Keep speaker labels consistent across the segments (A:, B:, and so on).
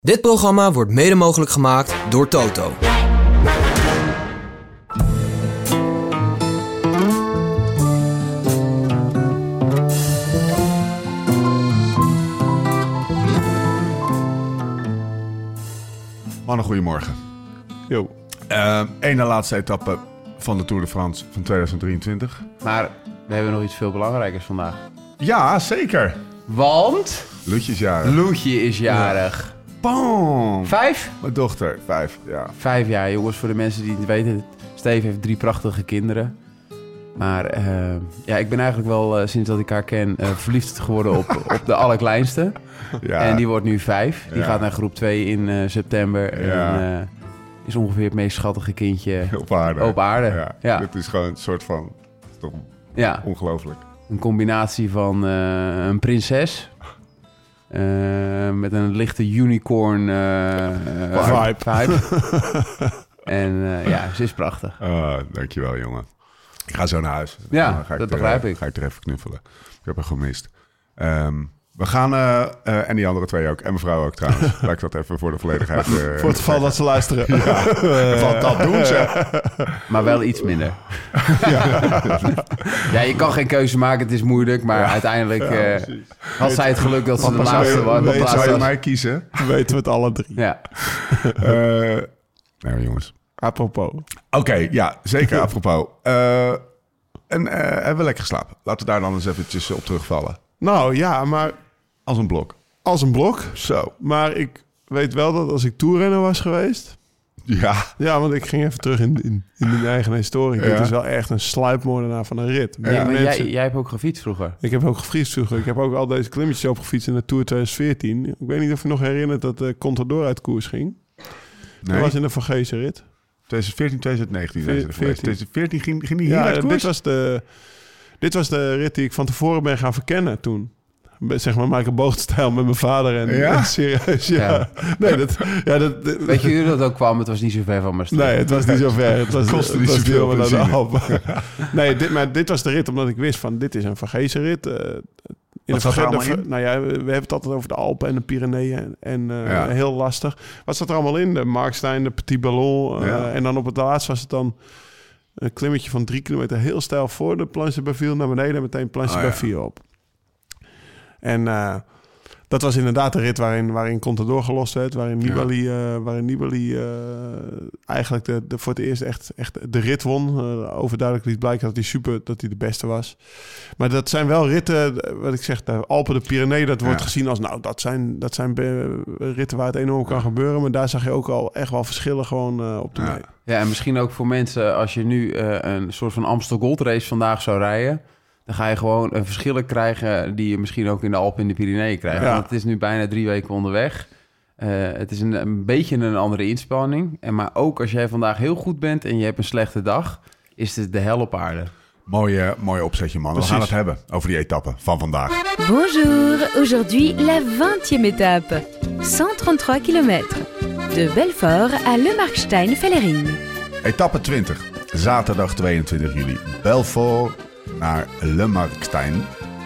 A: Dit programma wordt mede mogelijk gemaakt door Toto.
B: Mannen, goedemorgen.
C: Yo.
B: Eén na laatste etappe van de Tour de France van 2023.
C: Maar we hebben nog iets veel belangrijkers vandaag.
B: Ja, zeker.
C: Want
B: Lutjesjaren.
C: Loetje is jarig.
B: Bam!
C: Vijf?
B: Mijn dochter, vijf, ja.
C: Vijf jaar, jongens. Voor de mensen die het niet weten, Steve heeft drie prachtige kinderen. Maar eh, ja, ik ben eigenlijk wel eh, sinds dat ik haar ken eh, verliefd geworden op, op de allerkleinste.
B: ja.
C: En die wordt nu vijf. Die
B: Ja.
C: gaat naar groep 2 in eh, september.
B: Ja.
C: En eh, is ongeveer het meest schattige kindje
B: op aarde.
C: op aarde. Ja. Ja.
B: Dit is gewoon een soort van... het is toch Ongelooflijk.
C: Een combinatie van eh, een prinses. eh, met een lichte unicorn eh, eh,
B: Vibe.
C: en eh, ja, ze is prachtig.
B: Eh, dankjewel, jongen. Ik ga zo naar huis.
C: Ja,
B: Dan ga
C: dat
B: er,
C: begrijp
B: eh,
C: ik.
B: Ga ik er even knuffelen. Ik heb hem gemist. Ehm, we gaan... eh, eh, en die andere twee ook. En mevrouw ook trouwens. Laat ik dat even voor de volledigheid... eh,
D: Voor het geval dat ze luisteren.
B: Wat dat doen ze.
C: Maar wel iets minder. Ja, je kan geen keuze maken, het is moeilijk. Maar uiteindelijk eh, had zij het geluk dat ze de
D: zou je-
C: laatste was.
D: weet-
C: op
B: Zou
C: laatste
B: je
C: was.
B: mij kiezen?
D: Weten we het alle drie.
C: Ja.
B: Eh, nou jongens.
D: Apropos.
B: Oké, ja, zeker apropos. Eh, en eh, hebben we lekker geslapen? Laten we daar dan eens eventjes op terugvallen.
D: Nou ja, maar
B: Als een blok.
D: als een blok.
B: Zo.
D: Maar ik weet wel dat als ik toerrenner was geweest...
B: Ja.
D: Ja, want ik ging even terug in, in, in mijn eigen historie.
B: Ja.
D: Dit is wel echt een sluipmoordenaar van een rit.
C: Nee, maar jij,
D: Mensen-
C: jij hebt ook gefietst vroeger.
D: Ik heb ook gefietst vroeger. Ik heb ook al deze klimmetjes opgefietst in de Tour 2014. Ik weet niet of je nog herinnert dat de Contador uit koers ging.
B: Nee.
D: Dat was in de Van Gezen rit.
B: 2014, 2019 zijn ze er geweest.
D: 14.
B: 2014 ging, ging die hier
D: Ja,
B: uit koers?
D: dit was, de, dit was de rit die ik van tevoren ben gaan verkennen toen. Be- Zeg maar Michael Boogstijl met mijn vader en,
B: Ja?
D: en serieus, ja.
C: Ja.
D: Nee, dat, ja, dat, dat-
C: Weet je hoe dat ook kwam? Het was niet zo ver van mijn
D: nee, het was niet zo ver. Het was,
B: Kostte
D: het
B: niet
D: was
B: zoveel
D: veel naar de
B: benzine.
D: Alpen. Nee, dit, maar dit was de rit omdat ik wist van dit is een vergezen rit. eh, in
B: Wat zat er
D: Verge-
B: allemaal
D: Ver-
B: in?
D: Nou ja, we, we hebben het altijd over de Alpen en de Pyreneeën en, en, eh,
B: Ja.
D: heel lastig. Wat zat er allemaal in? De Markstein, de Petit Ballon eh,
B: Ja.
D: en dan op het laatst was het dan een klimmetje van drie kilometer heel stijl voor de planche Baville naar beneden en meteen planche
B: Oh, ja.
D: Baville op. En eh, dat was inderdaad de rit waarin, waarin Contador gelost werd, waarin Nibali, eh, waarin Nibali eh, eigenlijk de, de, voor het eerst echt, echt de rit won. Eh, overduidelijk liet blijken dat hij super, dat hij de beste was. Maar dat zijn wel ritten, eh, wat ik zeg, de Alpen, de Pyreneeën, dat wordt
B: Ja.
D: gezien als, nou, dat zijn, dat zijn be- ritten waar het enorm kan gebeuren. Maar daar zag je ook al echt wel verschillen gewoon eh, op de
B: Ja.
D: mee.
C: Ja, en misschien ook voor mensen, als je nu eh, een soort van Amstel Gold Race vandaag zou rijden, dan ga je gewoon een verschillen krijgen die je misschien ook in de Alpen en de Pyreneeën krijgt.
D: Ja.
C: Want het is nu bijna drie weken onderweg. Eh, het is een, een beetje een andere inspanning. En maar ook als jij vandaag heel goed bent en je hebt een slechte dag, is het de hel op aarde.
B: Mooie, mooie opzetje, man. We gaan het
D: Precies.
B: hebben over die etappe van vandaag.
E: Bonjour, aujourd'hui la 20e étape, 133 km, de Belfort à Le Markstein-Vellering.
B: Etappe 20, zaterdag 22 juli. Belfort naar Le Markstein.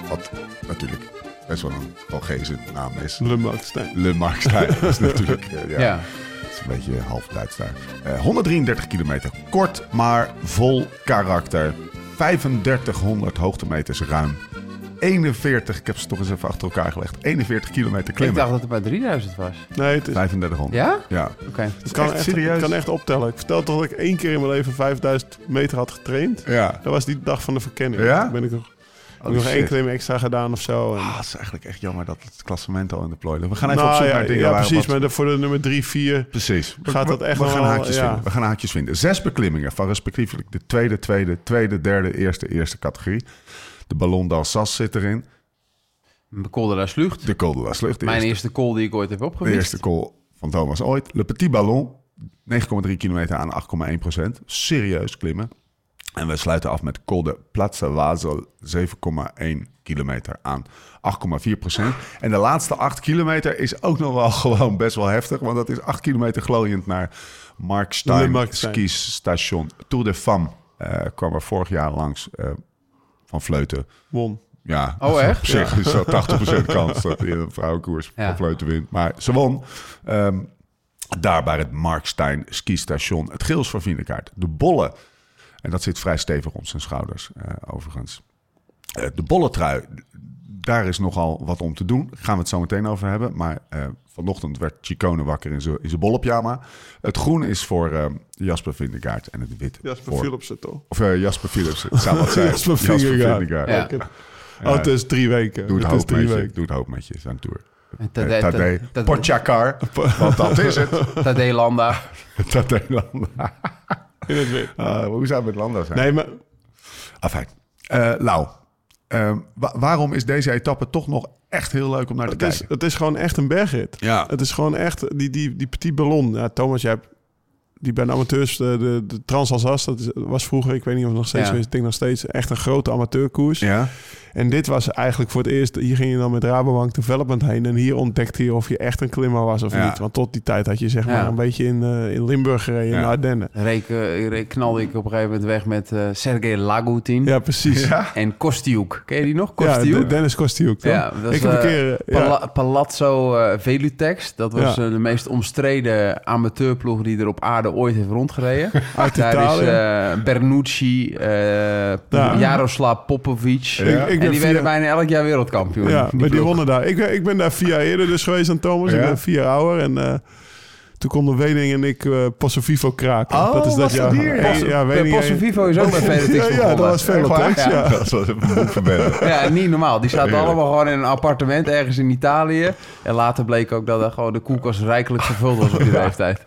B: Wat natuurlijk best wel een Belgische naam is.
D: Le Markstein.
B: Le Markstein Dat is natuurlijk... eh,
C: Ja.
B: Het is een beetje half Duits daar. Eh, 133 kilometer. Kort, maar vol karakter. 3500 hoogtemeters ruim. 41, ik heb ze toch eens even achter elkaar gelegd. 41 kilometer
C: Ik
B: klimmen.
C: dacht dat het bij 3000 was.
D: Nee, het, is,
B: 3500.
C: Ja? Oké.
B: Ja.
D: het kan
B: echt
D: echt,
B: serieus.
D: het kan echt optellen. Ik vertel toch dat ik één keer in mijn leven 5000 meter had getraind.
B: Ja.
D: Dat was die dag van de verkenning.
B: Ja?
D: Toen ben ik nog, heb ik
B: Holy
D: nog één
B: Oh, shit.
D: klim extra gedaan of zo. En,
B: Ah, het is eigenlijk echt jammer dat het klassement al in de plooi ligt. We gaan even
D: Nou
B: op zoek
D: ja,
B: naar dingen.
D: ja,
B: waar
D: precies.
B: wat-
D: Maar de- voor de nummer 3, 4.
B: Precies.
D: Gaat dat
B: we,
D: echt
B: we
D: nog
B: gaan
D: wel-
B: haakjes
D: ja.
B: vinden. We gaan haakjes vinden. Zes beklimmingen van respectievelijk de tweede, tweede, tweede, derde, eerste, eerste categorie. De Ballon d'Alsace zit erin.
C: Col de la Slucht.
B: De Col de la Slucht. de
C: Mijn
B: eerste.
C: eerste call die ik ooit heb
B: De
C: opgewist.
B: eerste call van Thomas ooit. Le Petit Ballon, 9,3 kilometer aan 8,1 procent. Serieus klimmen. En we sluiten af met Col de Plaza Wazel, 7,1 kilometer aan 8,4 procent. En de laatste 8 kilometer is ook nog wel gewoon best wel heftig. Want dat is 8 kilometer glooiend naar Mark
D: Le
B: Stein,
D: Marc Stein.
B: skis station. Tour de Femme eh, kwam er vorig jaar langs eh, van Vleuten.
D: Won.
B: Ja,
C: Oh, echt?
B: op zich is dat 80% kans dat in een vrouwenkoers
C: Ja.
B: ja. wint. Maar ze won. Ehm, daar bij het Markstein skistation. Het geel is voor Vienekaart. De bollen. En dat zit vrij stevig om zijn schouders, eh, overigens. Eh, de bollentrui. Daar is nogal wat om te doen. Gaan we het zo meteen over hebben. Maar eh, vanochtend werd Chicone wakker in zijn- in zijn bollenpyjama. Het groen is voor ehm, Jasper Vindegaard en het wit
D: Jasper
B: voor...
D: Philipsen toch?
B: Of eh, Jasper Philips. Het zou wat zijn.
D: Jasper Vingegaard.
B: Vingegaard.
C: Ja.
D: Ik heb-
B: Ja.
D: Oh, het is drie weken.
B: Doe het,
D: is
B: hoofd
D: drie
B: met je.
D: weken.
B: Doe het hoofd met je. Zijn tour.
C: En
B: Eh, Tadej.
C: Tadej-
B: Potjakar. Want dat is het.
C: Tadej Landa.
B: Tadej Landa.
D: In het wit.
B: Ah, hoe zou het met Landa zijn?
D: Nee, maar
B: Afijn. Eh, Lau. Ehm, wa- waarom is deze etappe toch nog echt heel leuk om naar te
D: het is,
B: kijken?
D: het is gewoon echt een bergrit.
B: Ja.
D: Het is gewoon echt die, die, die petit ballon. Ja, Thomas, jij hebt die bij de amateurs, de, de, de Transalsace, dat is- was vroeger, ik weet niet of het nog steeds
C: Ja.
D: zo is, ik denk nog steeds echt een grote amateurkoers.
B: Ja.
D: En dit was eigenlijk voor het eerst, hier ging je dan met Rabobank Development heen en hier ontdekte je of je echt een klimmer was of
B: Ja.
D: niet. Want tot die tijd had je zeg maar
C: Ja.
D: een beetje in, eh, in Limburg gereden, in
B: Ja.
D: de Ardennen.
C: Reek, eh, reek- knalde ik op een gegeven moment weg met eh Sergej Lagutin
D: Ja, precies. Ja,
C: en Kostiuk. Ken je die nog?
D: ja,
C: Kostiuk?
D: De- Dennis Kostiuk. toch?
C: Ja, dat is,
D: ik heb een
C: eh,
D: keer... eh, ja.
C: Pala- Palazzo eh, Velutex. Dat was
D: Ja.
C: eh, de meest omstreden amateurploeg die er op aarde ooit heeft rondgereden. Daar is
D: Italië.
C: eh, Bernucci, eh Jaroslav Popovic.
B: ben
C: En die
D: via-
C: werden bijna elk jaar wereldkampioen.
D: Ja, maar die
C: ploeg.
D: wonnen daar. Ik, ben- ik ben daar vier jaar eerder dus geweest aan Thomas.
B: Ja?
D: Ik ben vier jaar ouder. En eh, toen konden Wening en ik eh Passo Vivo kraken.
B: Oh,
D: dat is dat
B: was dat
D: jaar.
B: hier?
D: Pas-
B: Ja.
D: ja,
C: De
D: Wening
C: Posse Vivo is ook bij Velutex
D: Ja, ja,
C: begonnen.
D: dat was Velutex,
C: Echt waar?
D: ja.
B: Dat was een boven bellen.
C: Ja, niet normaal. Die zaten
B: Heerlijk.
C: allemaal gewoon in een appartement ergens in Italië. En later bleek ook dat er gewoon de koelkast rijkelijk gevuld was op die leeftijd.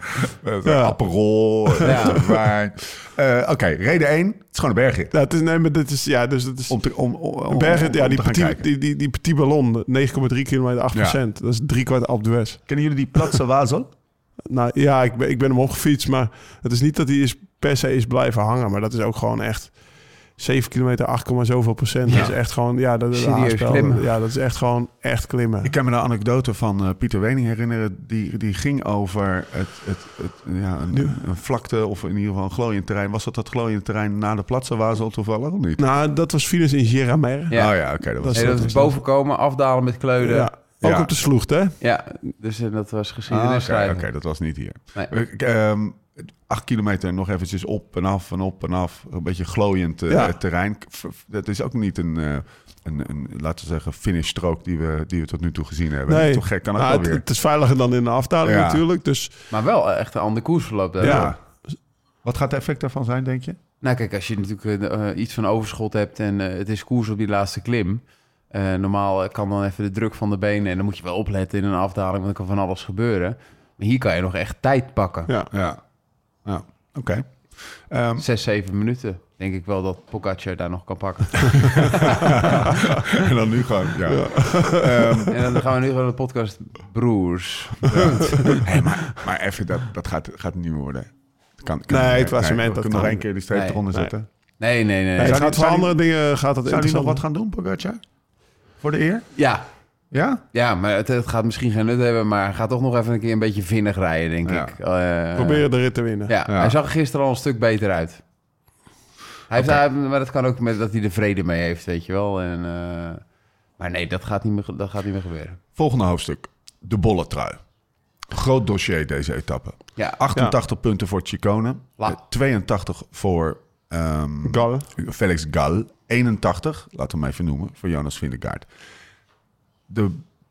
B: Ja. Aperol.
C: Ja.
B: wijn. Eh, Oké, reden 1. Het is gewoon een bergrit.
D: Ja, het is, nee, maar dit is, ja, dus dat is...
B: Om te, om, om, om,
D: Bergen, ja,
B: Oh, om
D: die
B: te gaan
D: petit,
B: kijken.
D: die, die, die petit ballon, 9,3 kilometer, 8 procent. Dat is drie kwart Alpe d'Huez.
B: Kennen jullie die Platse Wazel?
D: Nou ja, ik ben, ik ben hem opgefietst, maar het is niet dat hij is, per se is blijven hangen. Maar dat is ook gewoon echt 7 kilometer, 8, zoveel procent. Dat is echt gewoon, ja, dat, dat
C: Serieus
D: haarspel.
C: klimmen.
D: Ja, dat is echt gewoon echt klimmen.
B: Ik kan me een anekdote van eh, Pieter Wening herinneren. Die, die ging over het, het, het, ja, een, een vlakte of in ieder geval een glooiend terrein. Was dat dat glooiend terrein na de Platse Wazel toevallig of niet?
D: Nou, dat was Venus in Geramer.
C: Ja.
B: Oh ja, oké. dat was
D: Dat
C: Nee, dat is bovenkomen, afdalen met kleuden.
D: Ja.
C: Ja,
D: Ook
B: Ja.
D: op de sloeg, hè?
C: dus eh, dat was
B: Ah,
C: geschiedenis
B: oké,
C: schrijven.
B: oké, dat was niet hier.
C: Nee.
B: Ik, ehm, acht kilometer nog eventjes op en af en op en af. Een beetje glooiend eh,
D: Ja.
B: terrein. F- f- Dat is ook niet een, eh, een, een laten we zeggen, finishstrook die we, die we tot nu toe gezien hebben.
D: Nee.
B: Toch gek kan ook
D: Nou,
B: wel
D: het,
B: weer.
D: het is veiliger dan in de afdaling
B: Ja.
D: natuurlijk. Dus
C: Maar wel eh, echt een ander koersverloop. daar.
B: ja. Wat gaat het effect daarvan zijn, denk je?
C: Nou kijk, als je natuurlijk eh, eh, iets van overschot hebt en eh, het is koers op die laatste klim. eh, normaal eh, kan dan even de druk van de benen en dan moet je wel opletten in een afdaling, want er kan van alles gebeuren. Maar hier kan je nog echt tijd pakken.
D: ja.
B: Ja. ja. Oké. Ehm,
C: Zes, zeven minuten. Denk ik wel dat Pogacar daar nog kan pakken.
B: en dan nu gewoon, ja.
C: en dan gaan we nu gewoon de podcast Broers.
B: Hey, maar, maar even, dat, dat gaat, gaat niet meer worden. Het Kan, kan
D: Nee,
B: niet
D: het
B: meer.
D: was een moment,
B: we
D: dat
B: kunnen nog
D: kan.
B: één keer die streep
C: Nee.
B: eronder
D: Nee.
B: zetten.
C: Nee, nee, nee.
D: Nee, het
B: zou
D: gaat
B: die-
D: voor
B: zou die-
D: andere dingen gaat
B: Zou die
D: dat
B: nog
D: interessant
B: wat gaan doen, Pogacar? Voor de eer?
C: Ja,
B: Ja?
C: ja maar het, het gaat misschien geen nut hebben, maar gaat toch nog even een keer een beetje vinnig rijden, denk
B: Ja.
C: ik. Eh,
D: Proberen de rit te winnen.
C: Ja,
B: Ja.
C: hij zag er gisteren al een stuk beter uit. Hij heeft, hij- maar dat kan ook met dat hij er vrede mee heeft, weet je wel. En, eh, maar nee, dat gaat, niet meer, ge- dat gaat niet meer gebeuren.
B: Volgende hoofdstuk. De bolletrui. Groot dossier deze etappe.
C: Ja,
B: 88 punten voor Chicone.
C: La.
B: eh, 82 voor ehm,
D: Gal.
B: Felix Gal. 81, laten we hem even noemen, voor Jonas Vindegaard. De,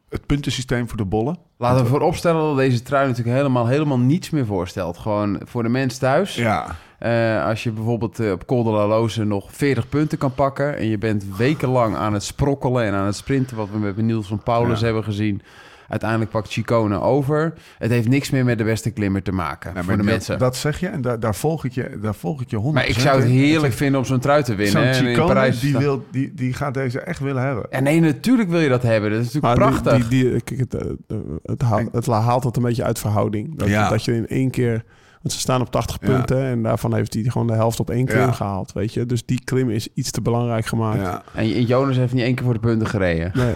B: het puntensysteem voor de bollen.
C: laten we vooropstellen dat deze trui natuurlijk helemaal, helemaal niets meer voorstelt. Gewoon voor de mens thuis.
B: Ja.
C: Eh, als je bijvoorbeeld eh, op Col de la Loze nog 40 punten kan pakken... en je bent wekenlang aan het sprokkelen en aan het sprinten... wat we met Niels van Paulus
B: Ja.
C: hebben gezien... uiteindelijk pakt Chicone over. Het heeft niks meer met de beste klimmer te maken
B: Nou,
C: voor
B: maar
C: de
B: dat-
C: mensen.
B: Dat zeg je en daar, daar volg ik je, daar volg ik je 100%.
C: Maar ik zou het
B: in.
C: heerlijk vinden om zo'n trui te
B: Zo'n
C: winnen. hè, en in
B: Chicone,
C: Parijs.
B: die, wil, die, die gaat deze echt willen hebben.
C: En nee, natuurlijk wil je dat hebben. Dat is
D: Maar
C: natuurlijk
D: die-
C: prachtig.
D: Die, die, kijk, het, eh, het, haalt, het haalt het een beetje uit verhouding. Dat,
B: Ja.
D: dat je in één keer... Want ze staan op 80
B: Ja.
D: punten en daarvan heeft hij gewoon de helft op één klim
B: Ja.
D: gehaald, weet je. Dus die klim is iets te belangrijk gemaakt.
B: Ja.
C: En Jonas heeft niet één keer voor de punten gereden.
D: Nee.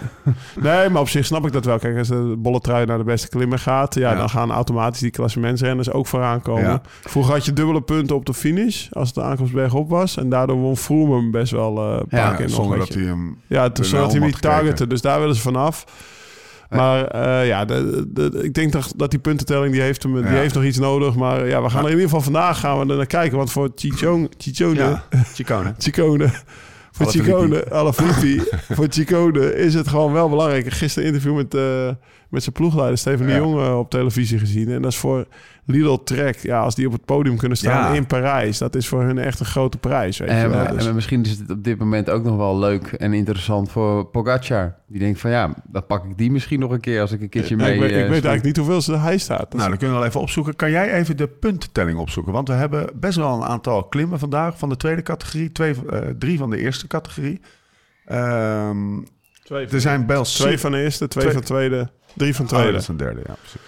D: nee, maar op zich snap ik dat wel. Kijk, als de bolle trui naar de beste klimmer gaat, ja,
B: Ja.
D: dan gaan automatisch die klassementsrenners ook vooraan komen.
B: Ja.
D: Vroeger had je dubbele punten op de finish als het de aankomstberg op was. En daardoor won Froome hem best wel eh een paar
C: Ja,
D: keer nog.
B: zonder
D: weet
B: dat
D: je.
B: hij hem...
D: Ja, toen
B: de
D: zodat hij
B: helm
D: hem
B: had
D: niet
B: gekeken.
D: targeten. Dus daar willen ze vanaf.
C: Ja.
D: Maar eh, ja, de, de- de- ik denk dat, dat die puntentelling, die heeft, hem, die
B: Ja.
D: heeft nog iets nodig. Maar ja, we gaan er in ieder geval vandaag gaan we er naar kijken. Want voor Chichone, Chichone,
B: Ja, Chicone.
D: Chicone. Voor
B: Alaphilippe.
D: Chicone, Alaphilippe. voor Chicone is het gewoon wel belangrijk. Gisteren een interview met, eh, met zijn ploegleider Steven de
B: Ja.
D: Jong eh, op televisie gezien. En dat is voor Lidl Trek. Ja, als die op het podium kunnen staan
B: Ja.
D: in Parijs. Dat is voor hun echt een grote prijs, weet je
C: En,
D: wel.
C: Ehm, en
D: Dus-
C: misschien is het op dit moment ook nog wel leuk en interessant voor Pogacar. Die denkt van ja, dan pak ik die misschien nog een keer als ik een keertje
D: Ja,
C: mee...
D: ik weet, ik
C: eh,
D: weet
C: snoep.
D: eigenlijk niet hoeveel ze hij staat. Dat
B: Nou, dan kunnen we wel even opzoeken. Kan jij even de puntentelling opzoeken? Want we hebben best wel een aantal klimmen vandaag van de tweede categorie. Twee, eh, drie van de eerste categorie. Ehm,
D: is- twee,
B: er zijn bij ons
D: twee van de eerste, twee,
B: Twee-
D: van de tweede, drie van de
B: Oh,
D: tweede.
B: dat is een derde, ja. precies.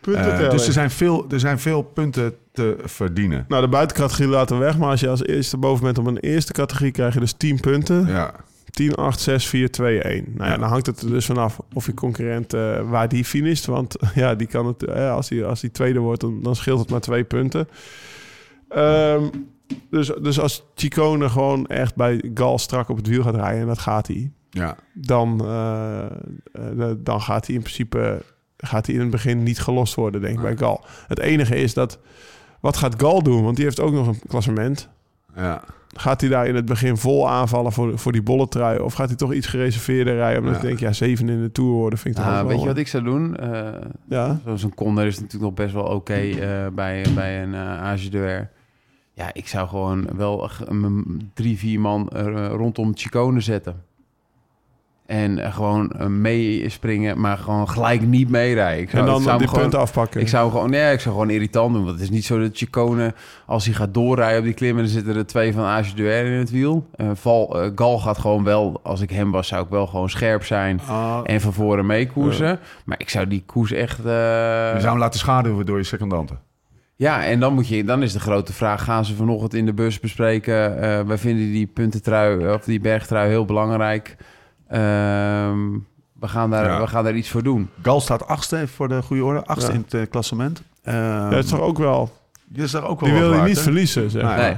D: Punten
B: Eh,
D: tellen.
B: dus er zijn, veel, er zijn veel punten te verdienen.
D: Nou, de buitencategorie laten we weg. Maar als je als eerste boven bent op een eerste categorie, krijg je dus 10 punten.
B: Ja,
D: 10, 8, 6, 4, 2, 1. Nou ja, dan hangt het er dus vanaf of je concurrent eh, waar die finisht. Want ja, die kan het, eh, als, die, als die tweede wordt, dan, dan scheelt het maar twee punten. Ehm, dus, dus als Chicone gewoon echt bij Gal strak op het wiel gaat rijden, en dat gaat hij,
B: ja.
D: dan, eh, eh, dan gaat hij in principe gaat hij in het begin niet gelost worden, denk ik, bij Gal. Het enige is dat, wat gaat Gal doen? Want die heeft ook nog een klassement.
B: ja.
D: Gaat hij daar in het begin vol aanvallen voor, voor die bolletrui? Of gaat hij toch iets gereserveerder rijden? Omdat
B: Ja.
D: ik denk, ja, zeven in de Tour worden vind ik toch
C: Ah,
D: ook
C: weet
D: wel-
C: je wat ik zou doen? Eh,
D: Ja,
C: Zo'n zo'n Conner is natuurlijk nog best wel oké eh, bij, bij een eh AGDR. Ja, ik zou gewoon wel g- m- drie, vier man eh, rondom Chicone zetten. En eh, gewoon eh, meespringen, maar gewoon gelijk niet meerijden. Ik zou,
D: en
C: ik zou
D: dan die
C: hem gewoon-
D: punten afpakken.
C: Ik zou hem gewoon, nee, ik zou gewoon irritant doen. Want het is niet zo dat Chicone, als hij gaat doorrijden op die klim... en dan zitten er twee van Age Duer in het wiel. Eh, Val, eh, Gal gaat gewoon wel, als ik hem was, zou ik wel gewoon scherp zijn...
B: Eh,
C: en van voren meekoersen. Maar ik zou die koers echt... eh,
B: Je zou hem laten schaduwen door je secondanten.
C: Ja, en dan, moet je, dan is de grote vraag... gaan ze vanochtend in de bus bespreken... eh, wij vinden die puntentrui of die bergtrui heel belangrijk... Ehm, we gaan, daar,
B: Ja.
C: we gaan daar iets voor doen.
B: Gal staat achtste, even voor de goede orde. Achtste
D: Ja.
B: in het eh, klassement. Ehm,
D: Ja, dat is toch ook wel...
B: die is daar ook wel wat
D: Die wil hij
B: waard,
D: niet
B: hè?
D: verliezen, zeg.
B: Nee.
D: Daar
C: Nee.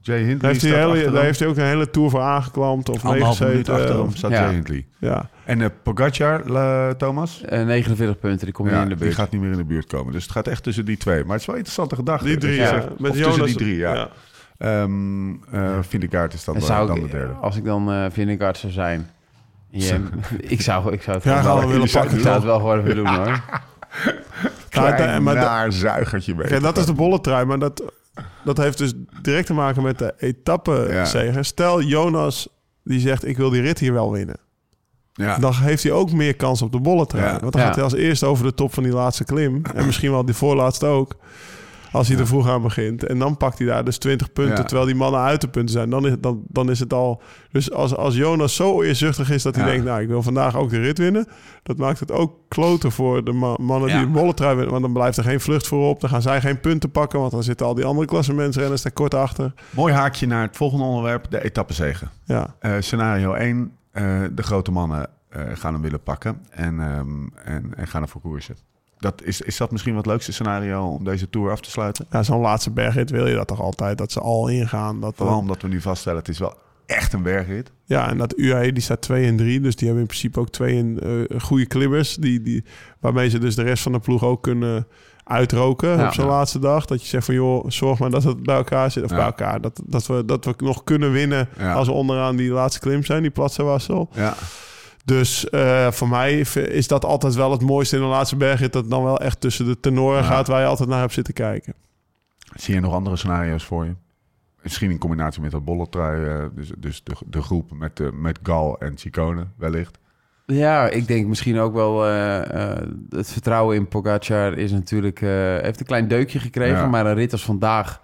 B: Jay Hindley
D: heeft, hij
B: staat
D: hele,
B: achteraan.
D: daar heeft hij ook een hele Tour voor aangeklampt of
B: Anderhalve minuut
D: meegezeten.
B: achter
D: eh,
B: hem staat
C: Ja.
B: Jay Hindley.
D: Ja.
B: En eh, Pogacar, eh, Thomas?
C: Eh, 49 punten, die komt niet
B: Ja,
C: in de
B: die
C: buurt.
B: gaat niet meer in de buurt komen. Dus het gaat echt tussen die twee. Maar het is wel een interessante gedachte.
D: Die drie,
B: Dat je
D: ja.
B: zegt- of
D: Met
B: tussen
D: Jonas.
B: die drie, ja.
D: ja.
B: Ehm eh Vindegaard is dan,
C: En
B: dan,
C: zou
B: dan
C: ik,
B: de derde.
C: Als ik dan eh Vindegaard zou zijn. Ja, ik zou, ik zou het
D: Ja,
C: gewoon
D: gaan we
C: wel-
D: willen
C: ik zou-
D: pakken.
C: Ik zou het wel gewoon even doen hoor.
D: Ja,
B: Klein,
D: en- maar da-
B: naar zuigertje mee.
D: Kijk, dat is de bolletrui, maar dat, dat heeft dus direct te maken met de etappenzegen. Stel, Jonas die zegt, ik wil die rit hier wel winnen.
B: ja.
D: dan heeft hij ook meer kans op de bolletrui.
B: Ja.
D: Want dan
C: Ja.
D: gaat hij als eerste over de top van die laatste klim. En misschien wel die voorlaatste ook. Als hij er vroeg aan begint. En dan pakt hij daar dus 20 punten.
B: Ja.
D: Terwijl die mannen uit de punten zijn. Dan is, dan, dan is het al. Dus als, als Jonas zo eerzuchtig is dat hij
B: Ja.
D: denkt: Nou, ik wil vandaag ook de rit winnen. Dat maakt het ook kloten voor de ma- mannen die de bolletrui winnen. Want dan blijft er geen vlucht voor op. Dan gaan zij geen punten pakken. Want dan zitten al die andere klassementsrenners daar kort achter.
B: Mooi haakje naar het volgende onderwerp, de etappezegen.
D: Ja,
B: Eh, scenario 1, eh, de grote mannen eh, gaan hem willen pakken en, ehm, en, en gaan ervoor koersen. Dat is, is dat misschien wat leukste scenario om deze tour af te sluiten?
D: ja zo'n laatste bergrit wil je dat toch altijd? Dat ze al ingaan. Dat
B: Vooral omdat we nu vaststellen, het is wel echt een bergrit.
D: Ja, en dat UAE die staat 2 en 3. Dus die hebben in principe ook twee en, eh, goede klimmers. Die, die, waarmee ze dus de rest van de ploeg ook kunnen uitroken
C: Ja.
D: op zo'n laatste dag. Dat je zegt van joh, zorg maar dat het bij elkaar zit. Of
B: Ja.
D: bij elkaar. Dat, dat, we, dat we nog kunnen winnen
B: Ja.
D: als we onderaan die laatste klim zijn, die Platsewassel.
B: Ja,
D: Dus eh, voor mij v- is dat altijd wel het mooiste in de laatste bergrit. Dat het dan wel echt tussen de tenoren
B: Ja.
D: gaat waar je altijd naar hebt zitten kijken.
B: zie je nog andere scenario's voor je? Misschien in combinatie met dat bolletrui, eh, dus, dus de, de groep met, eh, met Gal en Ciccone wellicht.
C: Ja, ik denk misschien ook wel... eh, eh, het vertrouwen in Pogacar is natuurlijk... eh, heeft een klein deukje gekregen,
B: Ja.
C: maar een rit als vandaag...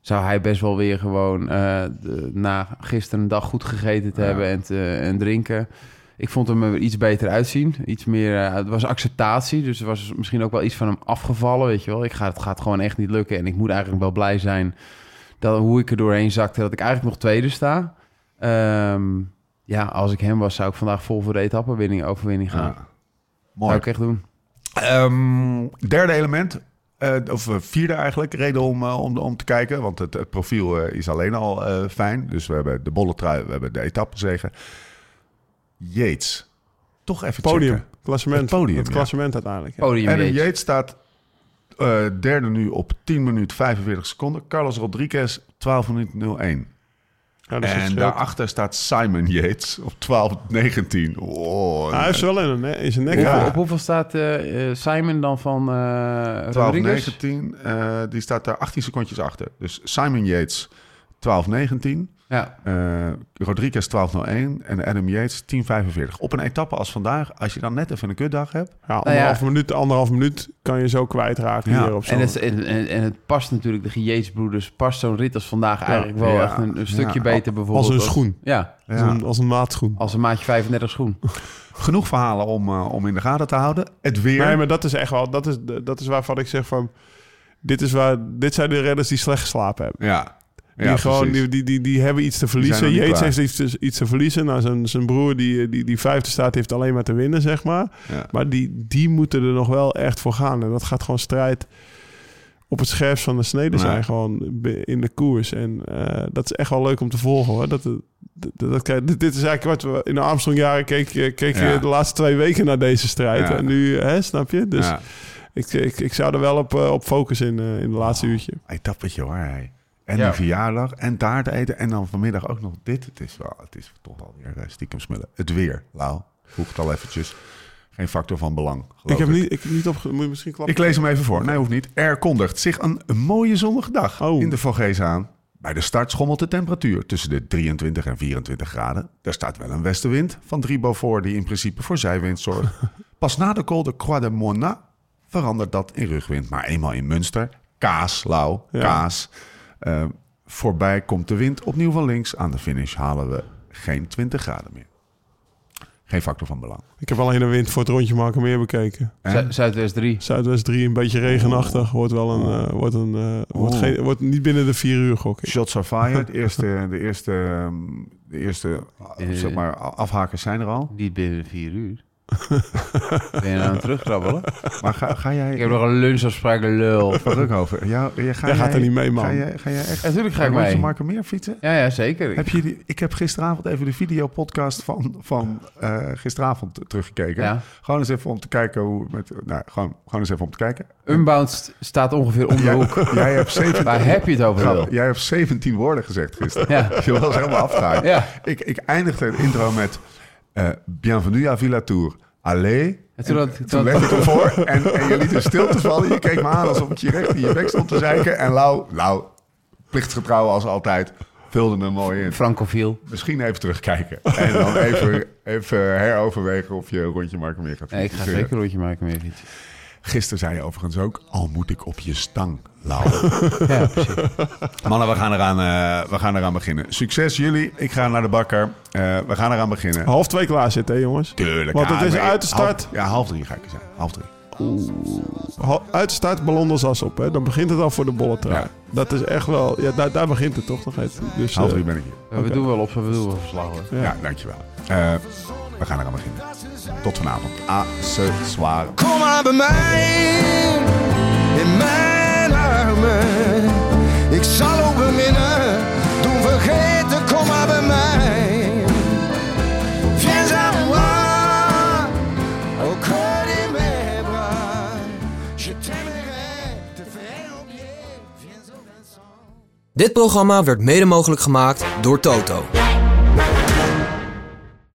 C: zou hij best wel weer gewoon eh, de- na gisteren een dag goed gegeten te
B: Ja.
C: hebben en, te, en drinken... Ik vond hem er iets beter uitzien. Iets meer, eh, het was acceptatie. Dus er was misschien ook wel iets van hem afgevallen. Weet je wel, ik ga, het gaat gewoon echt niet lukken. En ik moet eigenlijk wel blij zijn dat, hoe ik er doorheen zakte. Dat ik eigenlijk nog tweede sta. Ehm, ja, als ik hem was, zou ik vandaag vol voor de etappenwinning overwinning gaan.
B: Ja.
C: zou
B: Mooi.
C: ik echt doen.
B: Ehm, derde element, eh, of eh, vierde eigenlijk, reden om, eh, om, om te kijken. Want het, het profiel eh, is alleen al eh, fijn. Dus we hebben de bolletrui, we hebben de etappenzegen. Yates, toch even
D: Podium,
B: checken.
D: klassement.
B: Het podium,
D: Het
B: ja.
D: klassement uiteindelijk. Ja.
C: Podium
B: Adam
C: Yates.
B: Yates staat eh, derde nu op 10 minuten 45 seconden. Carlos Rodriguez 12 minuten 01.
D: Ja, dus het
B: En
D: scheelt.
B: daarachter staat Simon Yates op 12.19. Oh,
D: Ah, Hij heeft ze wel in, een, in zijn nek.
B: Ja.
D: gehad.
C: Op hoeveel staat eh, eh, Simon dan van eh
B: 12
C: Rodriguez?
B: 19, eh, die staat daar 18 secondjes achter. Dus Simon Yates 12-19,
C: Ja,
B: eh, Rodriguez 12-01 en Adam Yates 10-45. Op een etappe als vandaag, als je dan net even een kutdag hebt.
D: Ja, anderhalf,
C: ja.
D: Minuut, anderhalf minuut kan je zo kwijtraken
B: Ja,
D: hier op zo'n...
C: en het, en, en- en het past natuurlijk, de Yates-broeders, past zo'n rit als vandaag eigenlijk wel
B: ja,
C: echt een, een stukje
B: ja.
C: beter bijvoorbeeld.
D: Als een schoen.
C: Ja,
D: Als, een, als een maatschoen.
C: als een maatje 35 schoen.
B: Genoeg verhalen om, eh, om in de gaten te houden. Het weer.
D: Nee, maar dat is echt wel... Dat is, dat is waarvan ik zeg van... Dit, is waar, dit zijn de redders die slecht geslapen hebben.
B: ja.
D: Die,
B: ja,
D: gewoon,
B: precies.
D: die, die, die, die hebben iets te
B: zijn
D: verliezen.
B: nog niet
D: Jeets
B: klaar.
D: heeft iets, iets te verliezen. Nou, zijn, zijn broer die, die, die vijfde staat, heeft alleen maar te winnen, zeg maar.
B: Ja.
D: Maar die, die moeten er nog wel echt voor gaan. En dat gaat gewoon strijd op het scherpst van de snede
B: Nee.
D: zijn. Gewoon be- in de koers. En eh, dat is echt wel leuk om te volgen, hoor. Dat, dat, dat, dat krijg- dit, dit is eigenlijk wat we in de Armstrong-jaren keek, eh, keek
B: Ja.
D: je de laatste twee weken naar deze strijd.
B: Ja.
D: En nu, hè, snap je? Dus
B: Ja,
D: ik, ik, ik zou er wel op, eh, op focussen in, eh, in de laatste
B: Oh,
D: uurtje.
B: etappetje hoor. Hij. En
C: Ja.
B: die verjaardag en taart eten en dan vanmiddag ook nog dit. Het is, wel, het is toch alweer eh, stiekem smullen. Het weer, Lau. Voeg het al eventjes. Geen factor van belang.
D: Ik
B: geloof
D: heb, niet, ik heb niet op... Moet je misschien klappen?
B: Ik lees hem even voor. Nee, hoeft niet. Er kondigt zich een mooie zonnige dag
D: Oh.
B: in de Vogezen aan. Bij de start schommelt de temperatuur tussen de 23 en 24 graden. Er staat wel een westenwind van 3 Beaufort die in principe voor zijwind zorgt. Pas na de col de Croix de Mona verandert dat in rugwind. Maar eenmaal in Münster, kaas, lauw,
D: Ja.
B: kaas. Eh, voorbij komt de wind opnieuw van links. Aan de finish halen we geen 20 graden meer. Geen factor van belang.
D: Ik heb alleen de wind voor het rondje maken meer bekeken.
B: En?
C: Zu- Zuidwest 3.
D: Zuidwest 3, een beetje
B: Oh.
D: regenachtig. Wordt wel een. eh, wordt, een eh, wordt,
B: Oeh.
D: geen, wordt niet binnen de 4 uur gok. ik.
B: Shots are fired. De eerste, de eerste, ehm, de eerste
C: Eh.
B: zeg maar, afhakers zijn er al.
C: Niet binnen 4 uur. ben je nou aan het terugkrabbelen?
B: Maar ga, ga jij...
C: Ik heb nog een lunchafspraak, lul.
B: Van Rukhoven, ja, ja, ga
D: Jij gaat er niet mee, man.
B: Ga jij, ga jij echt...
C: Ja, Natuurlijk ga ik
B: Moet je
C: mee.
B: Marco Meer fietsen?
C: Ja, ja, zeker.
B: Heb je die, ik heb gisteravond even de videopodcast van, van eh, gisteravond teruggekeken.
C: Ja.
B: Gewoon eens even om te kijken hoe... Met, nou, gewoon, gewoon eens even om te kijken.
C: Unbound staat ongeveer om de
B: Jij,
C: hoek.
B: jij, hebt 17,
C: Waar heb je het over? lul?
B: jij hebt 17 woorden gezegd gisteren.
C: Ja.
B: Je was helemaal afgehaakt.
C: Ja.
B: Ik, ik eindigde het intro met... eh, Bienvenue à Villa Tour. Allez.
C: En toen had-
B: Toen legde ik hem voor en, en je liet een stilte vallen. Je keek me aan alsof ik je recht in je bek stond te zeiken. En Lau, Lau, plichtgetrouw als altijd, vulde hem mooi in.
C: Francofiel.
B: Misschien even terugkijken. En dan even, even heroverwegen of je een rondje Marken meer gaat
C: Nee, ik ga
B: fietsen.
C: zeker een rondje maken met fiets.
B: Gisteren zei je overigens ook, al moet ik op je stang, Lau.
C: Ja, precies.
B: Mannen, we gaan, eraan, eh, we gaan eraan beginnen. Succes jullie. Ik ga naar de bakker. Eh, we gaan eraan beginnen.
D: Half twee klaar zitten, hè, jongens.
B: Tuurlijk.
D: Want
B: ja,
D: het is
B: maar-
D: uit de start.
B: Half, ja, half drie ga ik er zijn. Half drie.
D: Ha- Uit de start ballon als as op. Hè. Dan begint het al voor de bolle trui.
B: Ja.
D: Dat is echt wel. Ja, daar, daar begint het toch nog even. Dus,
B: Half
D: eh,
B: drie ben ik hier.
C: We doen wel op, we doen wel verslag hoor.
B: Ja, dankjewel. Eh, we gaan eraan beginnen. Tot vanavond.
D: Ah,
B: A ce soir.
F: Kom maar bij mij, in mijn armen. Ik zal ook beminnen, toen vergeten, kom maar bij mij. Viens à moi, au cœur de mes bras. Je t'aimerai, te faire oublier, viens au Vincent.
A: Dit programma werd mede mogelijk gemaakt door Toto.